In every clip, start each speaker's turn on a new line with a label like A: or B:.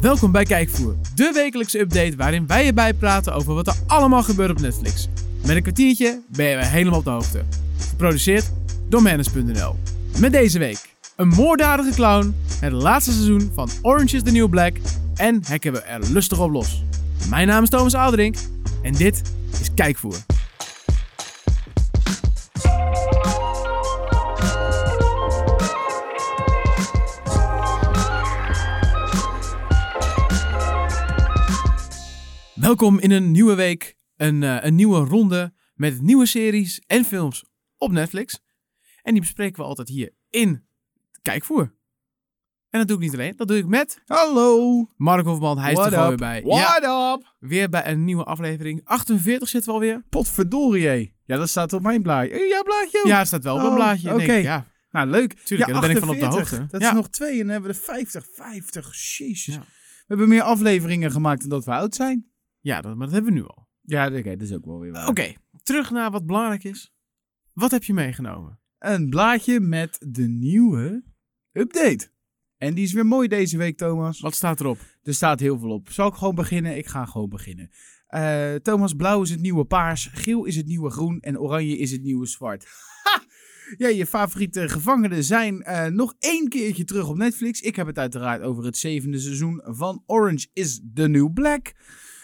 A: Welkom bij Kijkvoer, de wekelijkse update waarin wij je bijpraten over wat er allemaal gebeurt op Netflix. Met een kwartiertje ben je weer helemaal op de hoogte. Geproduceerd door Manus.nl. Met deze week een moorddadige clown, het laatste seizoen van Orange is the New Black en hekken we er lustig op los. Mijn naam is Thomas Alderink en dit is Kijkvoer. Welkom in een nieuwe week, een, eh, een nieuwe ronde met nieuwe series en films op Netflix. En die bespreken we altijd hier in Kijkvoer. En dat doe ik niet alleen, dat doe ik met
B: Hallo.
A: Mark Hofman, hij is er
B: What
A: gewoon weer
B: up?
A: bij. Ja,
B: What up?
A: weer bij een nieuwe aflevering. 48 zitten we alweer.
B: Potverdorie. hé. Ja, dat staat op mijn blaadje. Eh, Ja, blaadje ook.
A: Ja, er staat wel op een
B: Oh,
A: blaadje.
B: oké.
A: Oké. Ja,
B: Nou, leuk.
A: Tuurlijk,
B: ja,
A: daar ben ik van op de
B: 48.
A: hoogte.
B: Dat
A: Ja.
B: is nog twee en dan hebben we er 50. 50, jezus.
A: Ja.
B: We hebben meer afleveringen gemaakt dan dat we oud zijn.
A: ja dat, maar dat hebben we nu al.
B: Ja, oké, dat is ook wel weer waar.
A: Oké, terug naar wat belangrijk is. Wat heb je meegenomen?
B: Een blaadje met de nieuwe update. En die is weer mooi deze week, Thomas.
A: Wat staat erop?
B: Er staat heel veel op. Zal ik gewoon beginnen? Ik ga gewoon beginnen. Eh, Thomas, blauw is het nieuwe paars, geel is het nieuwe groen en oranje is het nieuwe zwart. Ha! Ja, je favoriete gevangenen zijn eh, nog één keertje terug op Netflix. Ik heb het uiteraard over het zevende seizoen van Orange is the New Black.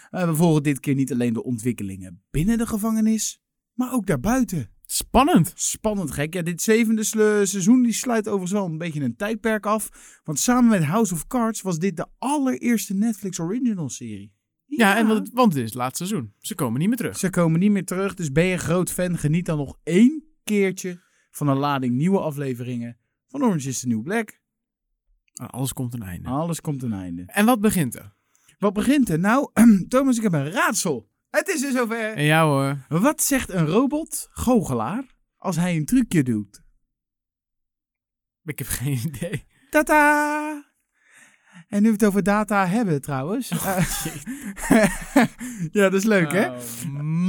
B: Eh, we volgen dit keer niet alleen de ontwikkelingen binnen de gevangenis, maar ook daarbuiten.
A: Spannend.
B: Spannend gek. Ja, dit zevende sle- seizoen die sluit overigens wel een beetje een tijdperk af. Want samen met House of Cards was dit de allereerste Netflix original serie.
A: Ja, En want, want dit is het laatste seizoen. Ze komen niet meer terug.
B: Ze komen niet meer terug, dus ben je een groot fan, geniet dan nog één keertje van een lading nieuwe afleveringen van Orange is the New Black.
A: Aan Alles komt een einde.
B: Alles komt een einde.
A: En wat begint er?
B: Wat begint er? Nou, Thomas, ik heb een raadsel. Het is er zover.
A: En jou hoor.
B: Wat zegt een robot, goochelaar, als hij een trucje doet?
A: Ik heb geen idee.
B: Tata! En nu we het over data hebben trouwens. Eh, ja, dat is leuk hè?
A: Oh,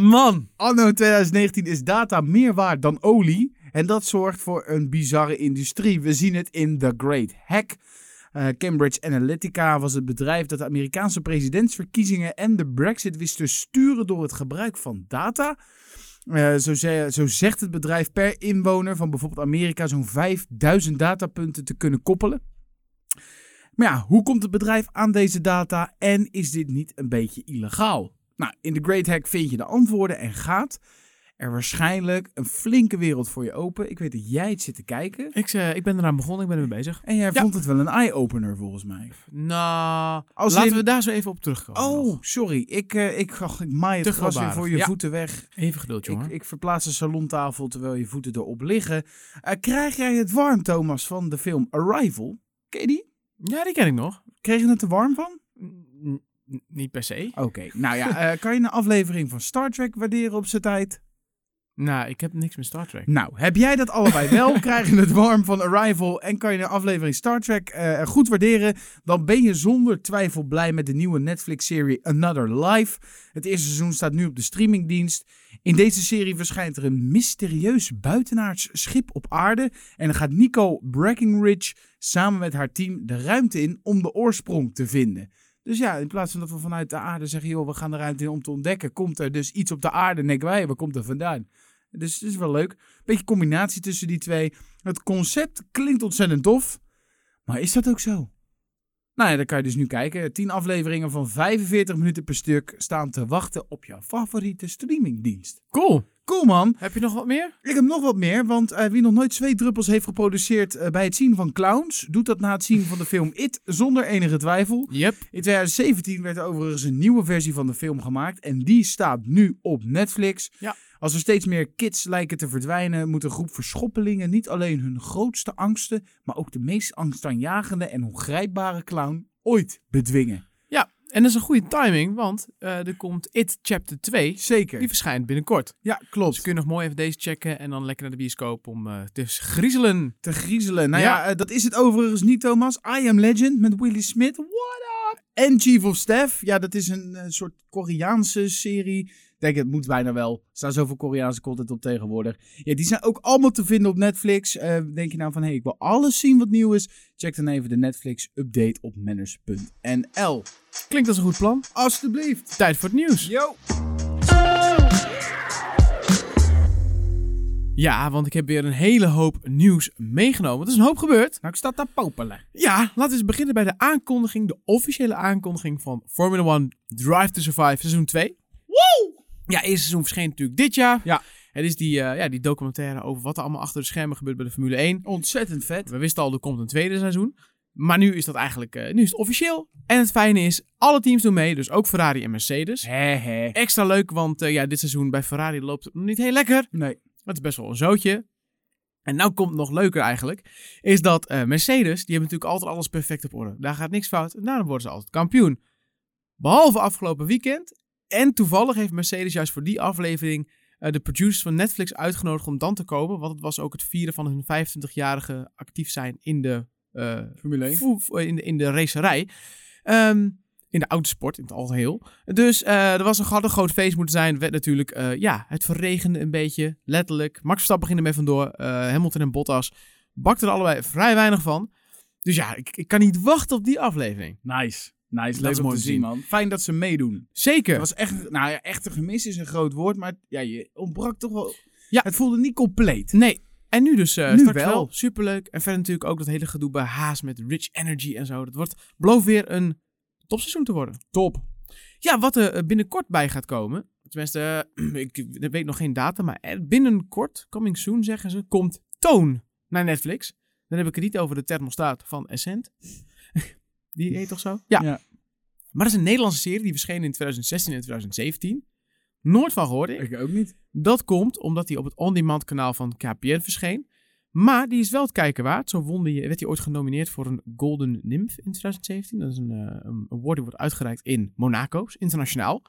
A: man.
B: Anno 2019 is data meer waard dan olie. En dat zorgt voor een bizarre industrie. We zien het in The Great Hack. Eh, Cambridge Analytica was het bedrijf dat de Amerikaanse presidentsverkiezingen en de Brexit wist te sturen door het gebruik van data. Eh, zo, ze- zo zegt het bedrijf per inwoner van bijvoorbeeld Amerika zo'n 5000 datapunten te kunnen koppelen. Maar ja, hoe komt het bedrijf aan deze data en is dit niet een beetje illegaal? Nou, in de Great Hack vind je de antwoorden en gaat er waarschijnlijk een flinke wereld voor je open. Ik weet dat jij het zit te kijken
A: Ik, eh, ik ben eraan begonnen, ik ben ermee bezig.
B: en jij
A: Ja.
B: vond het wel een eye-opener volgens mij.
A: Nou,
B: Als
A: laten
B: in-
A: we daar zo even op terugkomen. nog.
B: Oh, sorry. Ik, eh ik, ach, ik maai
A: Te
B: het gras weer
A: geloofwaardig.
B: voor je
A: Ja.
B: voeten weg.
A: Even geduld,
B: Ik,
A: jongen.
B: ik verplaats de salontafel terwijl je voeten erop liggen. Eh, krijg jij het warm, Thomas, van de film Arrival? Ken je die?
A: Ja, die ken ik nog.
B: Kreeg je het er warm van?
A: N- n- niet per se.
B: Oké, nou ja. eh, kan je een aflevering van Star Trek waarderen op zijn tijd?
A: Nou, ik heb niks met Star Trek.
B: Nou, heb jij dat allebei wel? Krijg je het warm van Arrival en kan je een aflevering Star Trek eh, goed waarderen? Dan ben je zonder twijfel blij met de nieuwe Netflix-serie Another Life. Het eerste seizoen staat nu op de streamingdienst. In deze serie verschijnt er een mysterieus buitenaards schip op aarde. En dan gaat Nico Breckinridge samen met haar team de ruimte in om de oorsprong te vinden. Dus ja, in plaats van dat we vanuit de aarde zeggen, joh, we gaan de ruimte in om te ontdekken, komt er dus iets op de aarde. En denken wij, waar komt er vandaan? Dus het is wel leuk. Beetje combinatie tussen die twee. Het concept klinkt ontzettend tof. Maar is dat ook zo? Nou ja, dan kan je dus nu kijken. 10 afleveringen van 45 minuten per stuk staan te wachten op jouw favoriete streamingdienst.
A: Cool.
B: Cool man.
A: Heb je nog wat meer?
B: Ik heb nog wat meer, want eh, wie nog nooit zweetdruppels heeft geproduceerd eh, bij het zien van clowns, doet dat na het zien van de film It zonder enige twijfel.
A: Yep.
B: In 2017 werd er overigens een nieuwe versie van de film gemaakt. En die staat nu op Netflix.
A: Ja.
B: Als er steeds meer kids lijken te verdwijnen, moet een groep verschoppelingen niet alleen hun grootste angsten, maar ook de meest angstaanjagende en ongrijpbare clown ooit bedwingen.
A: Ja, en dat is een goede timing, want eh, er komt It Chapter 2. Die
B: Zeker.
A: verschijnt binnenkort.
B: Ja,
A: Dus
B: klopt.
A: kun je nog mooi even deze checken en dan lekker naar de bioscoop om eh, te griezelen.
B: Te griezelen. Nou ja,
A: Ja.
B: eh, dat is het overigens niet, Thomas. I Am Legend met Willy Smith. What up? En Chief of Staff. Ja, dat is een eh, soort Koreaanse serie denk, het moet bijna wel. Er staan zoveel Koreaanse content op tegenwoordig. Ja, die zijn ook allemaal te vinden op Netflix. Eh, denk je nou van, hé, hey, ik wil alles zien wat nieuw is? Check dan even de Netflix-update op manners.nl.
A: Klinkt als een goed plan.
B: Alsjeblieft.
A: Tijd voor het nieuws.
B: Yo!
A: Ja, want ik heb weer een hele hoop nieuws meegenomen. Het is een hoop gebeurd.
B: Nou, ik sta daar popelen.
A: Ja, laten we eens beginnen bij de aankondiging, de officiële aankondiging van Formula One Drive to Survive seizoen 2. Woo! Ja, eerste seizoen verscheen natuurlijk dit jaar.
B: Ja.
A: Het is die, eh, ja, die documentaire over wat er allemaal achter de schermen gebeurt bij de Formule 1.
B: Ontzettend vet.
A: We wisten al, er komt een tweede seizoen. Maar nu is dat eigenlijk, eh, nu is het officieel. En het fijne is, alle teams doen mee, dus ook Ferrari en Mercedes.
B: Hé, hé.
A: Extra leuk, want eh, ja, dit seizoen bij Ferrari loopt het nog niet heel lekker.
B: Nee.
A: Dat is best wel een zootje. En nou komt nog leuker eigenlijk, is dat eh, Mercedes, die hebben natuurlijk altijd alles perfect op orde. Daar gaat niks fout en daarom worden ze altijd kampioen. Behalve afgelopen weekend. En toevallig heeft Mercedes juist voor die aflevering eh, de producers van Netflix uitgenodigd om dan te komen. Want het was ook het vieren van hun 25-jarige actief zijn in de, eh,
B: Formule
A: voe- vo- eh, in de, in de racerij. Ehm, in de autosport in het algeheel. Dus eh, er was een, had een groot feest moeten zijn. Werd natuurlijk, eh, ja, het verregende een beetje. Letterlijk. Max Verstappen ging ermee vandoor. eh, Hamilton en Bottas bakten er allebei vrij weinig van. Dus ja, ik, ik kan niet wachten op die aflevering.
B: Nice. Nice,
A: Dat
B: leuk
A: is
B: om
A: mooi
B: te
A: om
B: zien,
A: te
B: man. Fijn dat ze meedoen.
A: Zeker.
B: Het was echt, nou ja, echt een gemis is een groot woord, maar ja, je ontbrak toch wel...
A: Ja.
B: Het voelde niet compleet.
A: Nee. En nu dus eh
B: Nu
A: straks
B: wel.
A: wel. Superleuk. En verder natuurlijk ook dat hele gedoe bij Haas met Rich Energy en zo. Dat wordt, belooft weer een topseizoen te worden.
B: Top.
A: Ja, wat er eh, binnenkort bij gaat komen. Tenminste, eh, ik weet nog geen datum, maar eh, binnenkort, coming soon zeggen ze, komt Toon naar Netflix. Dan heb ik het niet over de thermostaat van Essent. Die heet toch zo? Ja.
B: Ja.
A: Maar dat is een Nederlandse serie die verscheen in 2016 en 2017. Nooit van gehoord. Ik.
B: Ik ook niet.
A: Dat komt omdat die op het on-demand kanaal van KPN verscheen. Maar die is wel het kijken waard. Zo won die, werd hij ooit genomineerd voor een Golden Nymph in 2017. Dat is een, eh, een award die wordt uitgereikt in Monaco, is internationaal.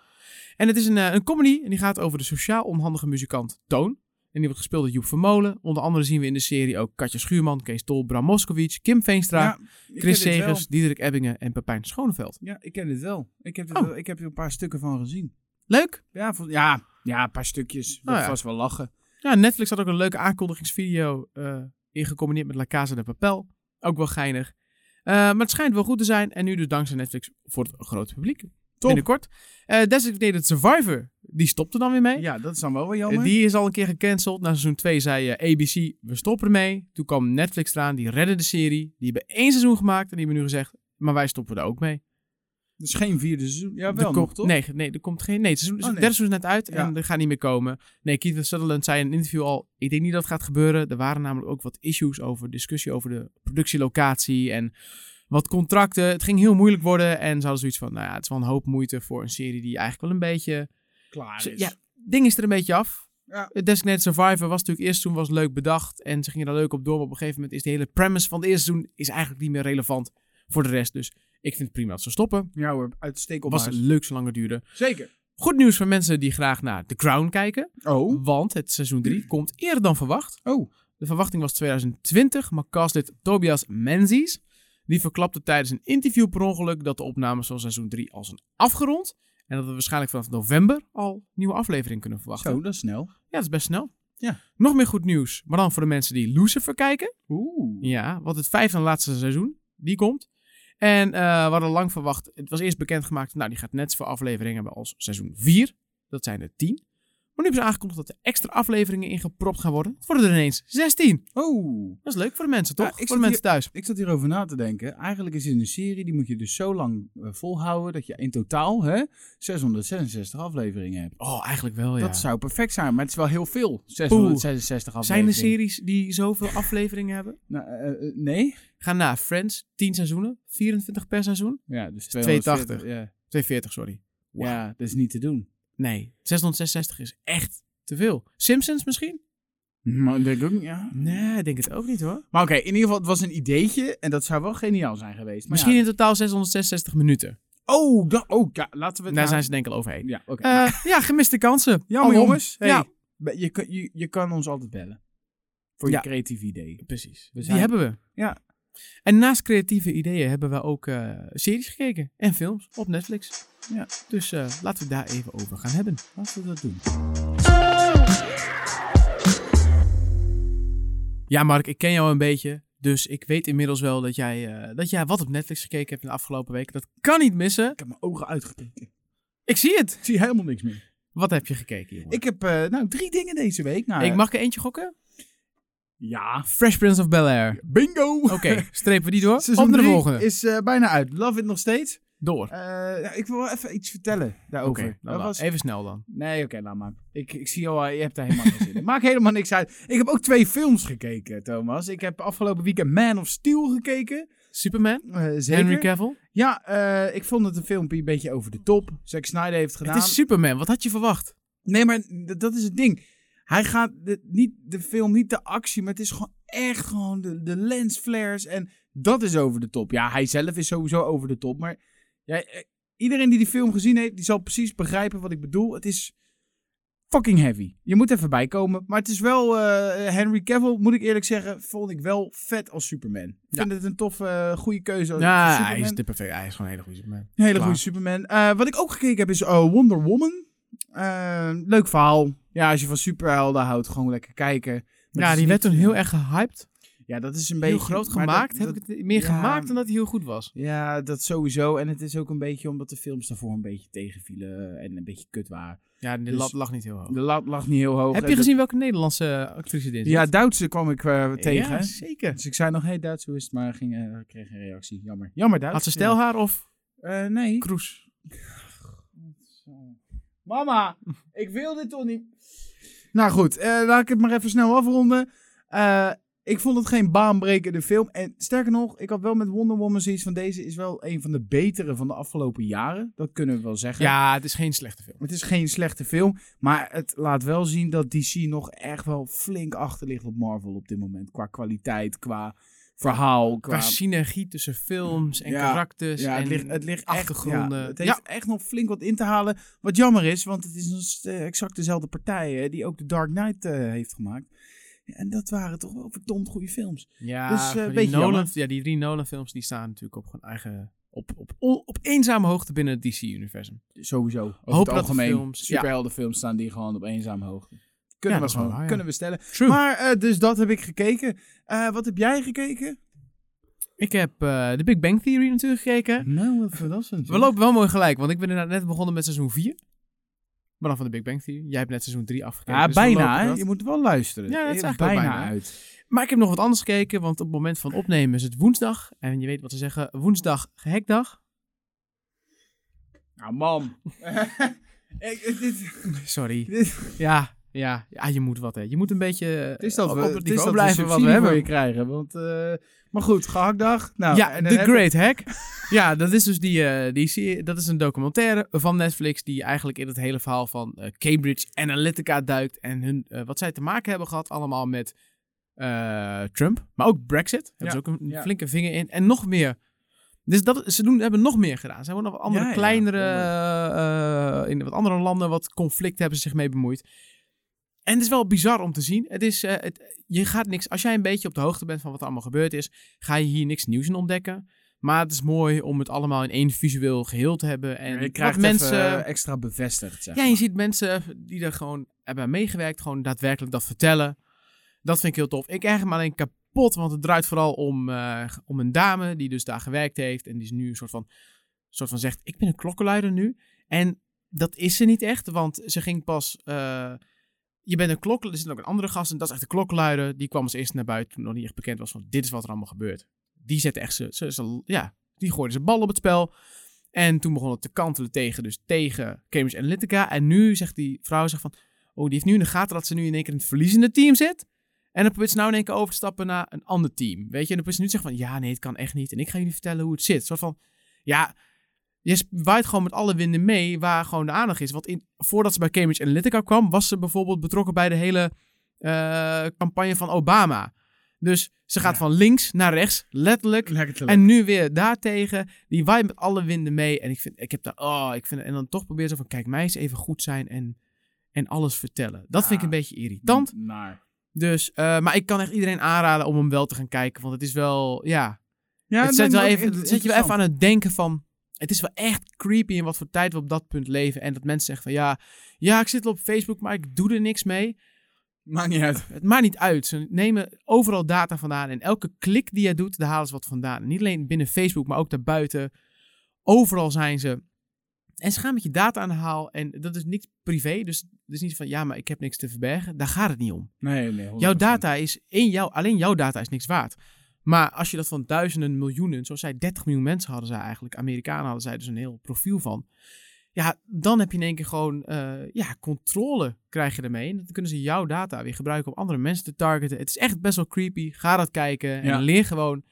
A: En het is een, eh, een comedy en die gaat over de sociaal onhandige muzikant Toon. En die wordt gespeeld door Joep Vermolen. Onder andere zien we in de serie ook Katja Schuurman, Kees Tol, Bram Moskowitz, Kim Veenstra,
B: Ja, ik
A: Chris
B: ken dit wel.
A: Segers, Diederik Ebbingen en Pepijn Schoneveld.
B: Ja, ik ken dit wel. Ik heb, dit
A: Oh.
B: wel- ik heb er een paar stukken van gezien.
A: Leuk!
B: Ja, vol- ja, ja een paar stukjes. Dat
A: Nou ja.
B: was wel lachen.
A: Ja, Netflix had ook een leuke aankondigingsvideo eh ingecombineerd met La Casa de Papel. Ook wel geinig. Eh, maar het schijnt wel goed te zijn. En nu dus dankzij Netflix voor het grote publiek. Binnenkort. Eh Designated Survivor, die stopte dan weer mee.
B: Ja, dat is dan wel weer
A: Eh,
B: jammer.
A: die is al een keer gecanceld. Na seizoen 2 zei eh, ABC, we stoppen ermee. Toen kwam Netflix eraan, die redde de serie. Die hebben één seizoen gemaakt en die hebben nu gezegd, maar wij stoppen er ook mee.
B: Dus geen vierde seizoen. Ja,
A: Er
B: wel
A: komt-
B: nog, toch?
A: Nee, nee, er komt geen... Nee, het seizoen,
B: Oh, nee.
A: derde seizoen is net uit
B: Ja.
A: en er gaat niet meer komen. Nee, Keith Sutherland zei in een interview al... Ik denk niet dat het gaat gebeuren. Er waren namelijk ook wat issues over discussie over de productielocatie en wat contracten. Het ging heel moeilijk worden en ze hadden zoiets van... Nou ja, het is wel een hoop moeite voor een serie die eigenlijk wel een beetje...
B: Klaar
A: Ze-
B: is.
A: ja, ding is er een beetje af.
B: Ja.
A: Het Designated Survivor was natuurlijk eerst toen was leuk bedacht en ze gingen daar leuk op door. Maar op een gegeven moment is de hele premise van het eerste seizoen is eigenlijk niet meer relevant voor de rest. Dus ik vind het prima dat ze stoppen.
B: Ja hoor, uitstekend.
A: Was het leuk zolang het duurde.
B: Zeker.
A: Goed nieuws voor mensen die graag naar The Crown kijken.
B: Oh.
A: Want het seizoen 3 komt eerder dan verwacht.
B: Oh.
A: De verwachting was 2020, maar castlid Tobias Menzies... die verklapte tijdens een interview per ongeluk... dat de opnames van seizoen 3 al zijn afgerond. En dat we waarschijnlijk vanaf november al een nieuwe aflevering kunnen verwachten.
B: Zo, oh, dat is snel.
A: Ja, dat is best snel.
B: Ja.
A: Nog meer goed nieuws, maar dan voor de mensen die Lucifer kijken.
B: Oeh.
A: Ja, want het vijfde en laatste seizoen, die komt. En eh, we hadden lang verwacht, het was eerst bekendgemaakt, nou die gaat net zoveel afleveringen hebben als seizoen 4. Dat zijn er 10. Maar nu hebben ze aangekondigd dat er extra afleveringen ingepropt gaan worden. Het worden er ineens 16.
B: Oh.
A: Dat is leuk voor de mensen,
B: Ja,
A: toch?
B: ik zit
A: voor de mensen thuis.
B: Ik zat hierover na te denken. Eigenlijk is dit een serie, die moet je dus zo lang eh, volhouden dat je in totaal hè, 666 afleveringen hebt.
A: Oh, eigenlijk wel, ja.
B: Dat zou perfect zijn, maar het is wel heel veel. 666
A: zijn er
B: afleveringen.
A: series die zoveel afleveringen hebben?
B: Nou, eh, eh, nee?
A: Ga na Friends, 10 seizoenen, 24 per seizoen.
B: Ja, dus
A: 280.
B: 280. Ja.
A: 240, sorry. Wauw.
B: ja, dat is niet te doen.
A: Nee, 666 is echt te veel. Simpsons misschien? Mhm.
B: Maar ik denk ook, niet- ja.
A: Nee, ik denk het ook niet hoor.
B: Maar oké, in ieder geval, het was een ideetje en dat zou wel geniaal zijn geweest. Maar
A: Misschien
B: ja.
A: in totaal 666 minuten.
B: Oh, dat, oh ja, laten
A: Daar
B: we... het nou-
A: zijn ze denk ik al overheen.
B: Ja, oké. nou.
A: Eh, ja, gemiste kansen.
B: Jammer
A: Alom.
B: jongens. Hey,
A: Ja,
B: je, kan- je, je kan ons altijd bellen. Voor
A: Ja.
B: je creatieve idee.
A: precies.
B: We
A: Die
B: zijn-
A: hebben we.
B: Ja.
A: En naast creatieve ideeën hebben we ook eh, series gekeken en films op Netflix.
B: Ja.
A: Dus eh, laten we daar even over gaan hebben.
B: Laten we dat doen.
A: Ja, Mark, ik ken jou een beetje. Dus ik weet inmiddels wel dat jij, eh, dat jij wat op Netflix gekeken hebt in de afgelopen weken. Dat kan niet missen.
B: Ik heb mijn ogen uitgekeken.
A: Ik zie het.
B: Ik zie helemaal niks meer.
A: Wat heb je gekeken, jongen?
B: Ik heb eh, nou drie dingen deze week. Nou,
A: ik mag er eentje gokken.
B: Ja.
A: Fresh Prince of Bel-Air.
B: Bingo!
A: Oké, strepen we die door.
B: Seizoen
A: Op naar de
B: drie
A: volgende.
B: is eh, bijna uit. Love it nog steeds.
A: Door.
B: Eh, nou, ik wil wel even iets vertellen
A: Oké, nou
B: daarover.
A: dan
B: Dat
A: maar.
B: was-
A: even snel dan.
B: Nee, oké, laat maar. Ik, ik zie al, eh, je hebt daar helemaal geen zin in. Maakt helemaal niks uit. Ik heb ook twee films gekeken, Thomas. Ik heb afgelopen weekend Man of Steel gekeken.
A: Superman,
B: Eh, zeker.
A: Henry Cavill.
B: Ja, eh, ik vond het een filmpje een beetje over de top. Zack Snyder heeft het gedaan.
A: Het is Superman, wat had je verwacht?
B: Nee, maar d- dat is het ding. Hij gaat de, niet de film, niet de actie, maar het is gewoon echt gewoon de, de lensflares. En dat is over de top. Ja, hij zelf is sowieso over de top. Maar ja, eh, iedereen die die film gezien heeft, die zal precies begrijpen wat ik bedoel. Het is fucking heavy. Je moet even bijkomen. Maar het is wel, eh, Henry Cavill, moet ik eerlijk zeggen, vond ik wel vet als Superman. Ik
A: Ja.
B: vind het een toffe, eh, goede keuze als
A: Ja,
B: Superman.
A: hij is, de perfect, hij is gewoon een hele goede Superman.
B: Een hele
A: Klaar.
B: goede Superman. Eh, wat ik ook gekeken heb is eh, Wonder Woman. Eh, leuk verhaal. Ja, als je van superhelden houdt, gewoon lekker kijken. Maar het
A: ja,
B: is
A: die werd
B: niet-
A: toen heel erg gehyped.
B: Ja, dat is een beetje...
A: Heel groot
B: maar dat-
A: gemaakt.
B: dat-
A: Heb ik het meer
B: ja.
A: gemaakt dan dat hij heel goed was.
B: Ja, dat sowieso. En het is ook een beetje omdat de films daarvoor een beetje tegenvielen en een beetje kut waren.
A: Ja, de
B: Dus-
A: lat lag niet heel hoog.
B: De lat lag niet heel hoog.
A: Heb je
B: En dat-
A: gezien welke Nederlandse actrice dit is?
B: Ja, Duitse kwam ik eh, tegen.
A: Ja, zeker.
B: Dus ik zei nog, hey Duits, hoe is het? Maar ging, eh, ik kreeg een reactie. Jammer. Jammer Duits.
A: Had ze stelhaar of
B: Ja. Eh, nee.
A: kroes?
B: Mama, ik wil dit toch niet. Nou goed, eh, laat ik het maar even snel afronden. Eh, ik vond het geen baanbrekende film. En sterker nog, ik had wel met Wonder Woman zoiets van deze is wel een van de betere van de afgelopen jaren. Dat kunnen we wel zeggen.
A: Ja, het is geen slechte film.
B: Het is geen slechte film, maar het laat wel zien dat DC nog echt wel flink achter ligt op Marvel op dit moment. Qua kwaliteit, qua verhaal,
A: Qua synergie tussen films en
B: Ja,
A: karakters
B: ja, het
A: Dus en
B: ligt, het ligt echt-
A: achtergronden.
B: ja, het heeft echt nog flink wat in te halen. Wat jammer is, want het is nog st- eh, exact dezelfde partij hè, die ook de Dark Knight eh, heeft gemaakt. Ja, En dat waren toch wel verdomd goede films.
A: Ja,
B: Dus, eh,
A: van die
B: beetje
A: Nolan-
B: jammer.
A: ja, die drie Nolan-films die staan natuurlijk op gewoon eigen. Op, op, op, op eenzame hoogte binnen het DC-universum.
B: Sowieso. Over
A: Hopen
B: het
A: dat de
B: algemeen.
A: films- ja.
B: Superheldenfilms staan die gewoon op eenzame hoogte. Kunnen,
A: Ja, dat
B: we,
A: is wel
B: gewoon,
A: waar, ja.
B: kunnen we stellen.
A: True.
B: Maar eh, dus dat heb ik gekeken. Eh, wat heb jij gekeken?
A: ik heb eh de Big Bang Theory natuurlijk gekeken.
B: Nou, wat verrassend.
A: We lopen wel mooi gelijk, want ik ben inderdaad net begonnen met seizoen 4. Maar dan van de Big Bang Theory. Jij hebt net seizoen 3 afgekeken.
B: ja,
A: dus we
B: bijna.
A: lopen
B: hè?
A: dat.
B: Je moet wel luisteren.
A: Ja, dat is
B: Eh,
A: eigenlijk wel
B: bijna
A: bijna.
B: uit.
A: Maar ik heb nog wat anders gekeken, want op het moment van opnemen is het woensdag. En je weet wat ze zeggen, woensdag gehackdag.
B: Nou, mam. Ik- dit-
A: Sorry.
B: dit,
A: Ja, ja, ja, je moet wat hè. Je moet een beetje eh,
B: Het is dat
A: op,
B: we,
A: op het
B: het is
A: niveau
B: dat we
A: blijven wat we
B: subsidie
A: hebben.
B: voor je krijgen. Want, eh, maar goed, gehaktdag. Nou,
A: ja,
B: en
A: The
B: dan heb-
A: Great Hack. ja, dat is dus die, eh, die serie- dat is een documentaire van Netflix die eigenlijk in het hele verhaal van eh, Cambridge Analytica duikt en hun, eh, wat zij te maken hebben gehad allemaal met eh, Trump, maar ook Brexit. Hebben
B: Ja,
A: ze ook een
B: ja.
A: flinke vinger in en nog meer. Dus dat, ze doen, hebben nog meer gedaan. Ze hebben nog wat andere
B: Ja, ja,
A: kleinere, eh, eh, in wat andere landen, wat conflicten hebben ze zich mee bemoeid. En het is wel bizar om te zien. Het is, eh, het, je gaat niks, als jij een beetje op de hoogte bent van wat er allemaal gebeurd is, ga je hier niks nieuws in ontdekken. Maar het is mooi om het allemaal in één visueel geheel te hebben. En
B: Je
A: wat
B: krijgt mensen
A: mensen.
B: extra bevestigd, zeg
A: ja, je ziet mensen die er gewoon hebben aan meegewerkt, gewoon daadwerkelijk dat vertellen. Dat vind ik heel tof. Ik erg me alleen kapot, want het draait vooral om, eh, om een dame die dus daar gewerkt heeft. En die is nu een soort van, soort van zegt, ik ben een klokkenluider nu. En dat is ze niet echt, want ze ging pas... eh, je bent een klok, er zit ook een andere gast en dat is echt de klokkenluider. Die kwam als eerste naar buiten toen nog niet echt bekend was van dit is wat er allemaal gebeurt. Die zette echt ze, ze, ze- ja, die gooide zijn bal op het spel. En toen begon het te kantelen tegen, dus tegen Cambridge Analytica. En nu zegt die vrouw zegt van, oh die heeft nu in de gaten dat ze nu in één keer in het verliezende team zit. En dan probeert ze nou in één keer over te stappen naar een ander team. Weet je, en dan probeert ze nu te zeggen van, ja nee, het kan echt niet. En ik ga jullie vertellen hoe het zit. Zo van, ja, je sp- waait gewoon met alle winden mee waar gewoon de aandacht is. Want in, voordat ze bij Cambridge Analytica kwam, was ze bijvoorbeeld betrokken bij de hele eh, campagne van Obama. Dus ze gaat
B: Ja.
A: van links naar rechts, letterlijk.
B: en,
A: En nu weer daartegen. Die waait met alle winden mee. En ik vind, ik heb daar, oh, ik vind, en dan toch probeer ze van, kijk, mij eens even goed zijn en, en alles vertellen. Dat
B: Ja. Mm.
A: vind ik een beetje irritant.
B: Naar.
A: Dus, eh, maar ik kan echt iedereen aanraden om hem wel te gaan kijken. Want het is wel, ja,
B: Ja,
A: het zet,
B: nee,
A: wel
B: ook
A: even, het zet je wel even
B: interessant.
A: aan het denken van... Het is wel echt creepy in wat voor tijd we op dat punt leven. En dat mensen zeggen van ja, ja, ik zit wel op Facebook, maar ik doe er niks mee.
B: Maakt niet uit.
A: Het maakt niet uit. Ze nemen overal data vandaan. En elke klik die jij doet, daar halen ze wat vandaan. Niet alleen binnen Facebook, maar ook daarbuiten. Overal zijn ze. En ze gaan met je data aan de haal. En dat is niks privé. Dus het is niet van ja, maar ik heb niks te verbergen. Daar gaat het niet om.
B: Nee, nee.
A: Jouw
B: 100%.
A: data is in jou, alleen jouw data is niks waard. Maar als je dat van duizenden, miljoenen, zoals zij 30 miljoen mensen hadden zij eigenlijk, Amerikanen hadden zij dus een heel profiel van. Ja, dan heb je in één keer gewoon, eh, ja, controle krijg je ermee. En dan kunnen ze jouw data weer gebruiken om andere mensen te targeten. Het is echt best wel creepy. Ga dat kijken en
B: Ja.
A: leer gewoon.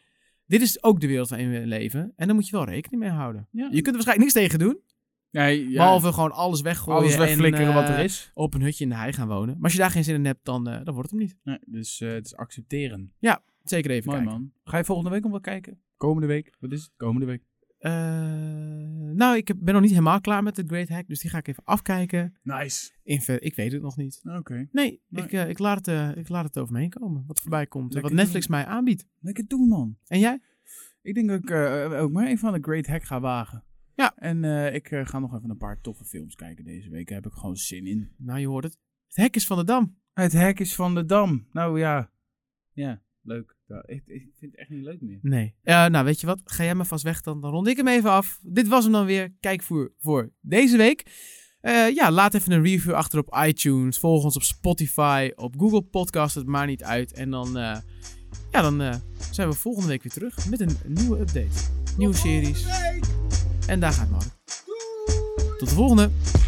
A: Dit is ook de wereld waarin we leven. En daar moet je wel rekening mee houden.
B: Ja.
A: Je kunt er waarschijnlijk niks tegen doen.
B: Nee, ja.
A: Behalve gewoon alles weggooien.
B: alles
A: en,
B: wegflikkeren wat
A: eh,
B: er is.
A: Op een hutje in de hei gaan wonen. Maar als je daar geen zin in hebt, dan, eh, dan wordt het hem niet.
B: Nee, dus eh, het is accepteren.
A: Zeker even
B: Mooi
A: kijken.
B: man. Ga je volgende week nog wel kijken? Komende week? Wat is het? Komende week.
A: Eh, nou, ik heb- ben nog niet helemaal klaar met de Great Hack, dus die ga ik even afkijken.
B: Nice.
A: In ver, ik weet het nog niet.
B: Oké.
A: Nee,
B: Nee.
A: Ik, eh, ik, laat het, eh, ik laat het over me heen komen. Wat voorbij komt. en
B: Lekker
A: wat Netflix mij aanbiedt.
B: Lekker doen man.
A: En jij?
B: Ik denk dat ik eh, ook maar even aan de Great Hack ga wagen.
A: Ja.
B: En eh, ik eh, ga nog even een paar toffe films kijken deze week. Daar heb ik gewoon zin in.
A: Nou, je hoort het. Het hek is van de dam.
B: Het hek is van de Dam. Nou ja. Ja, leuk. Ja, ik, ik vind het echt niet leuk meer.
A: Nee. Eh, nou, weet je wat? Ga jij maar vast weg, dan, dan rond ik hem even af. Dit was hem dan weer. Kijk voor, voor deze week. Eh, ja, laat even een review achter op iTunes. Volg ons op Spotify, op Google Podcast. Het maakt niet uit. En dan, eh, ja, dan eh, zijn we volgende week weer terug met een nieuwe update. Nieuwe series. En daar gaat Mark. Tot de volgende.